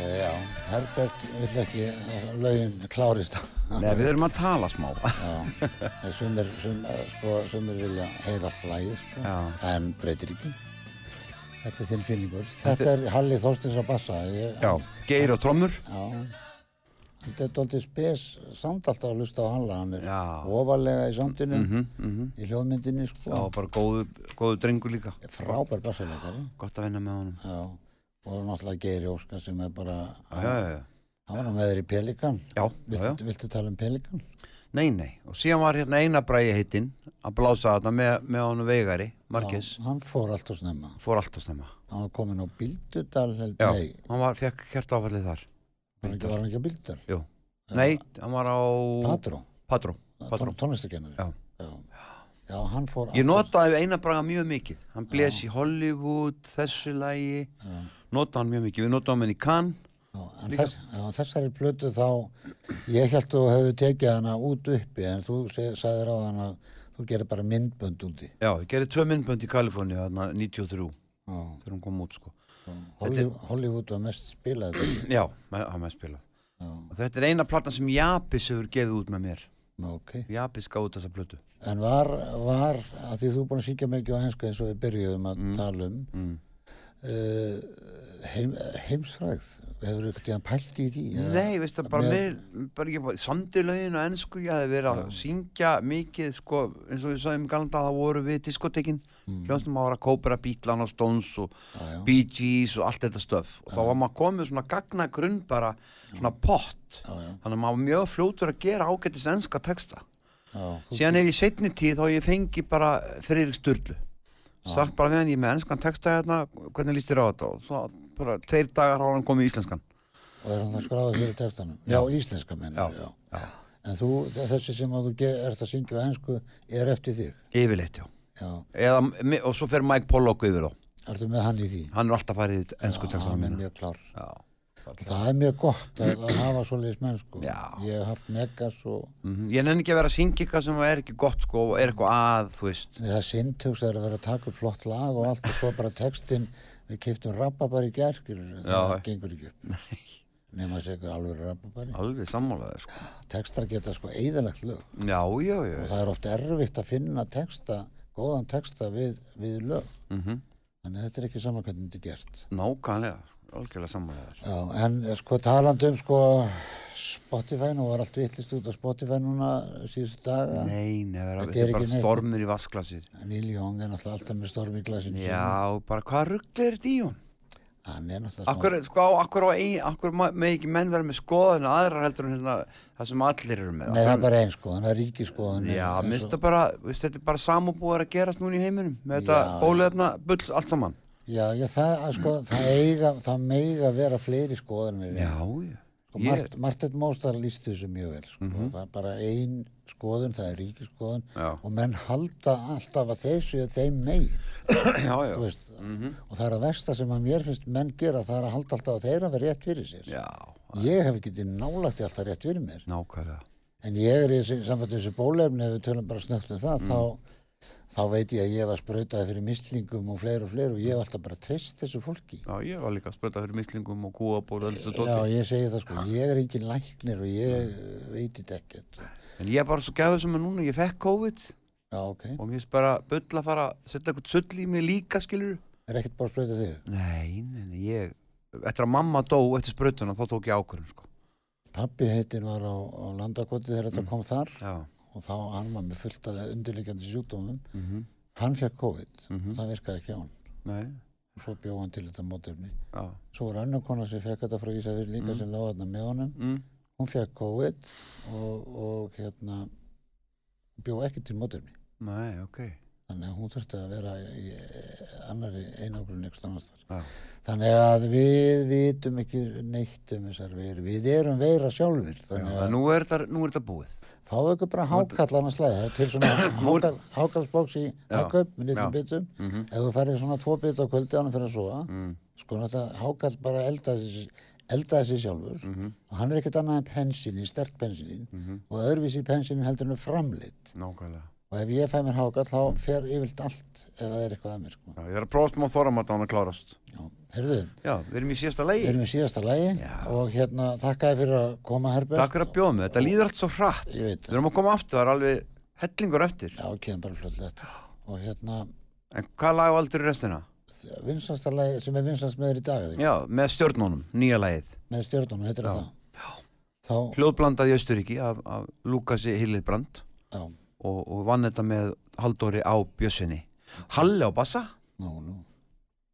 Eh, Herbert vill ekki að lögin klárist
Nei, við erum að tala smá
Já, en sumir, sum, eh, sko, sumir vilja heyra allt lagið, sko,
Já.
en breytir ekki. Þetta er þinn fílingur. Þetta er Halli Þorstins að bassa. Ég,
Já, geir og trommur
Já. Þetta er doldið spes samt alltaf að hlusta á hann, lag. hann er
Já.
ofalega í samtinu,
mhm.
í hljóðmyndinni,
Já,
sko.
bara góður góðu drengur líka
Frábær bassalegari.
Gott að vinna með honum
Já. Og náttúrulega Geiri Óskar sem er bara,
Já, já, já, já.
hann var nú með þér í Pelikan.
já, já,
Viltu,
já.
viltu tala um Pelikan?
Nei, nei, og síðan var hérna eina bræði heitinn að blása þarna með, með honum veigari Markis,
Já, hann fór allt og snemma.
fór allt að snemma
Hann var komin á Bildudal, held,
Já,
nei,
hann var, fekk kjart áfallið þar
var hann ekki- var hann ekki á Bildudal?
Jú, nei, hann var á
Patró,
Patró,
Patró.
Patró.
tónlistakennari.
Já.
Já. Já, hann fór
Ég
alltaf-
notaði eina braga mjög mikið Hann blés í Hollywood, þessu lagi Notaði hann mjög mikið, við notaðum hann í Cannes
Já, en þess, já, þessari plötu þá, ég held þú hefur tekið hana út uppi en þú se- sagðir á hana að þú gerir bara myndbönd úti.
Já, ég gerði tvö myndbönd í Kaliforníu þarna 93
Já.
þegar hún kom út sko
Hollywood, Hollywood var mest spilað þetta.
Já, með- hann með spilað
Já,
Og þetta er eina platan sem Japis hefur gefið út með mér
nú, ok.
Japis gaf út þessa plötu
En var, var, að því þú er búin að syngja mikið á ensku eins og við byrjuðum að tala um,
mm.
uh, heim, heimsfræð, hefur þú eitthvað tíðan pælt í því? eða-
Nei, veist það, bara
með-
með, bara ekki bara, samdi lögin og ennsku, ég hafði verið að syngja mikið, sko, eins og við sagðum galda, það voru við diskotekin, mm. hljónstum að vera að kópera Beatlan og Stones og
Já, já.
Bee Gees og allt þetta stöf og þá var maður komið svona gagna grunn bara svona pott,
Já, já.
þannig að maður var mjög fljótur að gera ágættis ennska texta.
Já, þú-
Síðan ef ég setni tíð þá hef ég fengi bara Friðrik Sturlu. Sagt bara við hann, ég er með ennskan texta hérna, hvernig líst þér á þetta? Og svo bara tveir dagar á hann komið í íslenskan.
Og er hann það skráðið fyrir textanum? Já, íslenska menn.
Já, já.
En þú, þessi sem að þú ge- ert að syngja á ensku er eftir þig.
Yfirleitt, já.
Já,
eða, mi- og svo fer Mike Pollock yfir þá
ertu með hann í því?
hann er alltaf farið í ennsku textanum
Hann er
minna
mjög klár.
já,
Það er mjög gott að, að hafa svoleiðis menn, sko.
Já.
Ég hef haft megas og
Mhm. ég nenni ekki að vera að syngja eitthvað sem er ekki gott sko, og er eitthvað að, þú veist
það er sindhugs að vera að taka upp flott lag og allt og svo bara textinn, við kiptum rababari í gerkir, það
Já.
gengur ekki upp. Nei. Nefn að segja ykkur alveg rababari.
alveg sammálaði sko.
Textar geta sko eðalegt lög
já, já, já,
og það er oft erfitt að finna texta, góðan texta við, við lög.
mm -hmm.
Þannig að þetta er ekki saman hvernig þetta er gert.
nákvæmlega sko, algjörlega sammálaði
Já, en eh, sko talandi um sko Spotify, nú var allt vittlist út á Spotify núna síðustu daga.
nei, never,
Þetta
þetta
er
er bara
ekki neitt.
stormur í vasklasið
Neil Young er náttúrulega alltaf með storm í glasinu.
já, bara hvað rugglega er þetta í hún
sínu. Hann er náttúrulega
akkur, sko, akkur, á ein, akkur ma- með ekki menn vera með skoðan aðrar heldur en hérna, það sem allir eru
Nei,
með
það
Akkur-
er bara einn sko, það er ríkiskoðan.
Já, mér finnst það bara, veist, þetta er bara samúbúar að gerast núna í heiminum með þetta
Já.
bólefna bull allt saman.
Já, já, það, að sko, það eiga, það meiga vera fleiri skoðanir.
Já,
Sko,
ég, Mhm.
Mart, Martin Mostar líst þessu mjög vel, sko. Það er bara einn skoðun, það er ríkiskoðun
Já.
og menn halda alltaf að þessu eða þeim megin.
já,
þú
já, Mhm.
veist, og það er að versta sem að mér finnst menn gera, það er að halda alltaf að þeirra verið rétt fyrir sér.
já,
Ég hef ekki nálægt í alltaf rétt fyrir mér,
nákvæmlega.
en ég er í þessi- sambandi við þessi bólefni, ef við tölum bara snögt um það, þá, þá veit ég að ég var sprautaði fyrir mislingum og fleiri og fleiri og ég hef alltaf bara treyst þessu fólki.
Já, ég var líka að spröta fyrir mislingum og kúaból og
Já,
þessu dóti.
ég segi það sko, ég er engin læknir og ég eh, veit þetta ekkert.
En ég er bara svo gæfið sem er núna, ég fekk COVID
Já, ok.
og mér finnst bara bull að fara að setja eitthvað sull í mig líka, skilur.
Er ekkert bara að sprauta þig?
Nei, nei, nei, ég, eftir að mamma dó eftir sprötuna, þá tók ég ákvörðum, sko.
Pappi heitin var á, á landakoti þegar þetta kom þar
Já,
og þá hann var með fullt af undirleikjandi sjúkdómum.
mhm,
Hann fekk COVID
mhm,
það virkaði ekki á hann
nei,
og svo bjóð hann til þetta mótefni
já,
svo var önnur kona sem fekk þetta frá Ísafjörn líka sem lág þarna með honum
mhm,
hún fekk COVID og, og hérna bjóð ekki til mótefni
nei, ok,
þannig að hún þurfti að vera í eh, annarri einangrun ykkur annars þar
já,
þannig að við vitum ekki neitt um þessar veir við erum veira sjálfur
já,
þannig
en
að
nú er þetta, nú er þetta búið.
fáðu ykkur bara hákallana slæði það er til svona hákallsbóks í
Já,
hákaup með litlum
já.
bitum
Mhm.
ef þú færir svona tvo bit á kvöldi ánum fyrir að sofa
Mm.
sko náttúrulega Hákarl bara eldaði sig, eldaði sig sjálfur
Mhm.
og hann er ekkert annað en pensilín, sterk pensilín og öðruvísi pensilín heldur hann framleitt
Nákvæmlega.
og ef ég fæ mér Hákarl þá fer yfirlt allt ef það er eitthvað að mér sko.
Já, ég er að prófa smá þoramat á hann að klárast.
Já. Herðu,
Já, við erum í síðasta
við
lagi
erum í síðasta lagi
Já.
og hérna þakkaði fyrir að koma Herbert.
Takk fyrir að bjóða mig, þetta líður allt svo hratt
Ég veit
Við erum að koma aftur, það er alveg hellingur eftir
Já, kemur bara fljóðlegt. Og hérna,
En hvað lag á aldur í restina?
vinsasta lagi sem er vinsast með þér í dag, eða ekki?
Já, með stjórnunum, nýja lagið
með stjórnum, heitir
Já.
það. Þá,
Hljóðblandað í Östuríki af, af Lúkasi Hillidbrand
já,
og, og vann þetta með Halldóri á Bjössinni Halli á bassa
nú, nú,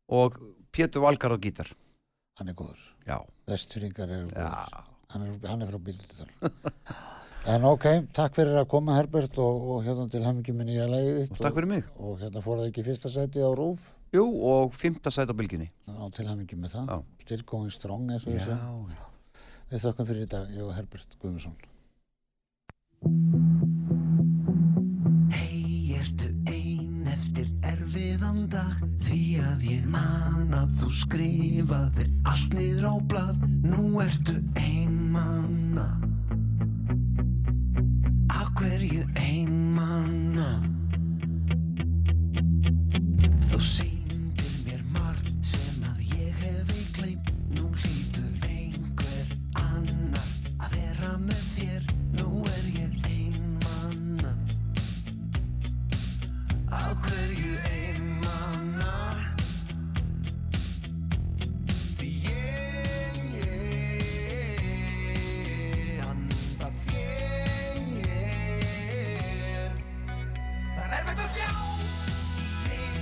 og Pétur Valkar á gítar
hann er góður.
Já,
Vestfyrringar eru
já,
góður. Hann er, hann er frá Bíldudal. en ok, takk fyrir að koma Herbert og, og hérna til hamingjum í nýja lagið
og
þitt.
takk fyrir mig
Og hérna fór það ekki í fyrsta sæti á Rúf.
Jú, og fymta sæt á bylginni
á tilhamingi með það
Já.
still going strong eins og
Já,
þessu
já
við þakkum fyrir í dag, ég og Herbert Guðmundsson
Hei, ertu ein eftir erfiðan dag Því að ég man að þú skrifaðir allt niður á blað Nú ertu ein manna Á hverju ein manna Þú sýndir mér margt sem að ég hefi gleymt Nú hlýtur einhver annar að vera með þér Nú er ég ein manna Á hverju einmanna Því ég, ég Anda þér, ég Það er erfitt að sjá þig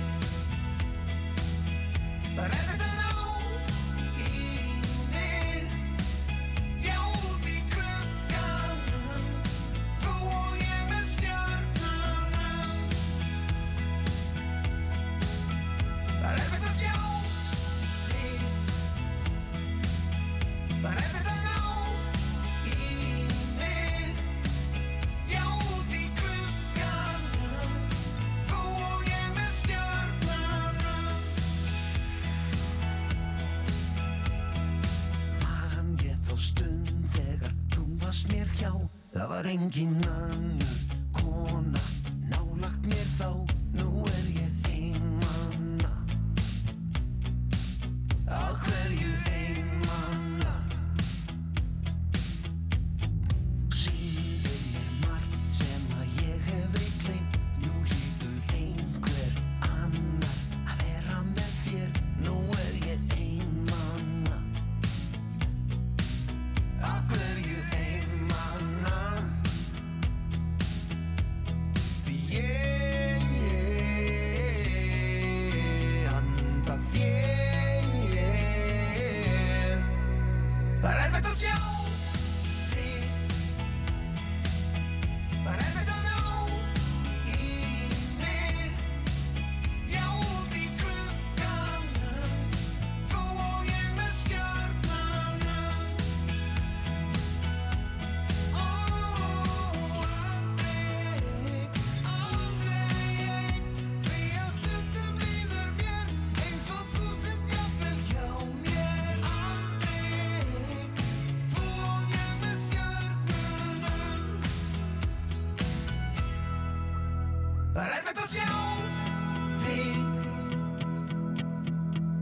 Það er erfitt að ná í mig Já, út í glugganum Þú og ég með stjörnunum Það er erfitt að sjá þig Það er erfitt að ná í mig Já, út í glugganum Þú og ég með stjörnunum Man ég þó stund þegar þú varst mér hjá Það var engin annu kona nálagt mér þá Nú er ég einmanna Á hverju einmanna Sýndir mér margt sem að ég hef veiklin Nú hlýtur einhver annar að vera með þér Nú er ég einmanna Á hverju einmanna Því ég, ég Anda þér, ég Það er erfitt að sjá þig Það er erfitt að ná í mig Já, út í glugganum Þú og ég með stjörnunum Ó, aldrei, aldrei einn Því að stundum líður mér Eins og þú sitt jafnvel hjá mér Aldrei, þú og ég með stjörnunum Það er erfitt að sjá þig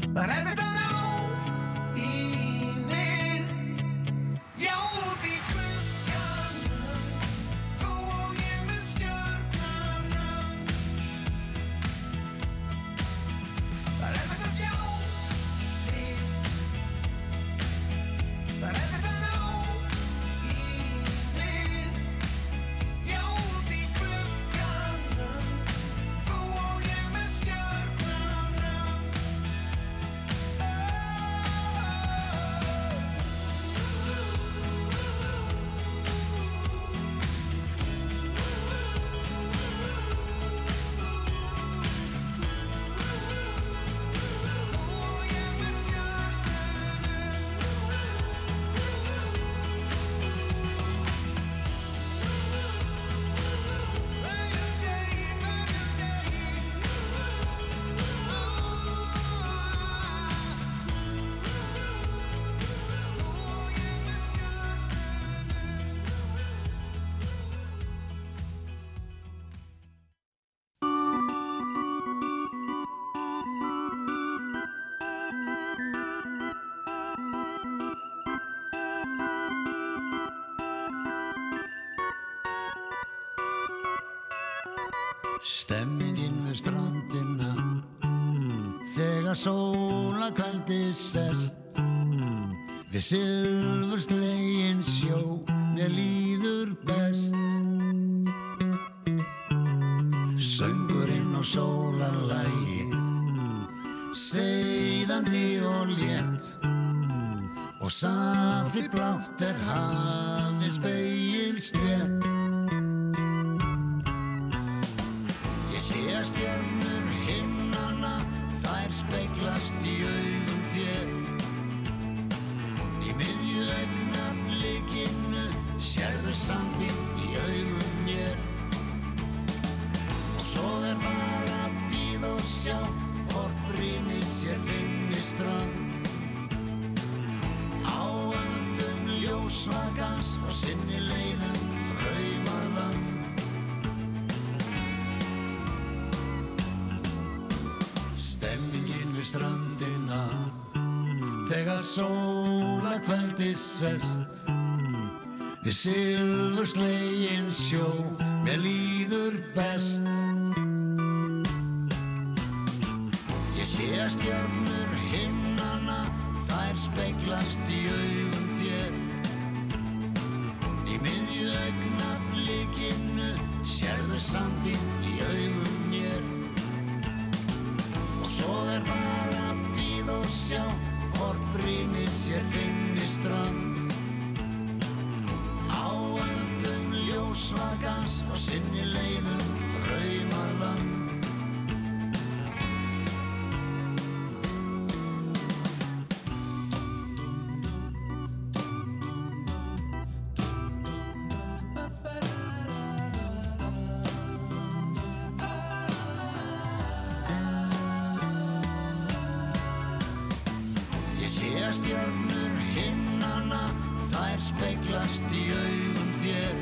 Það er erfitt að ná í mig Já, út í glugganum, þú og ég með stjörnunum. Það er erfitt að sjá þig. Það er erfitt að ná í mig. Já, út í glugganum, þú Stemmingin við strandina Þegar sóla kaldi sest Við silfur slegin sjó Mér líður best Söngurinn og sólarlægið Seiðandi og létt Og safi blátt er hafið speilslétt Ég sé að stjörnur himnana, þær speglast í augum þér. Í miðju augnablikinu sérðu sandinn í augum mér. Og svo er bara að býða og sjá hvort brýnið sér finni strand. Á öldum ljósvakans og sinni leiðum draumarland. Stemmingin við strandina Þegar sóla kveldi sest Við silfur slegin sjó Mér líður best Ég sé að stjörnur himnana Þær speglast í augum þér Í miðju augnablikinu Sérðu sandinn í augum mér og svo er bara að býða og sjá hvort brýnið sér finni strand á öldum ljósvakans og sinni leiðum draumarland ég sé að stjörnur himnana þær speglast í augum þér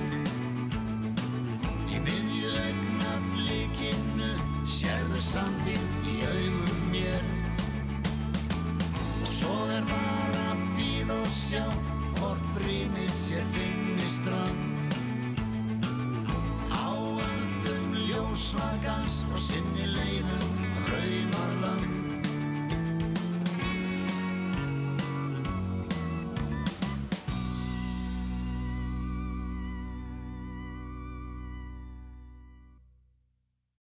í miðju augnablikinu sérðu sandinn í augum mér og svo er bara að býða og sjá hvort brýnið sér finni strand á öldum ljósvakans og sinni leiðum draumarland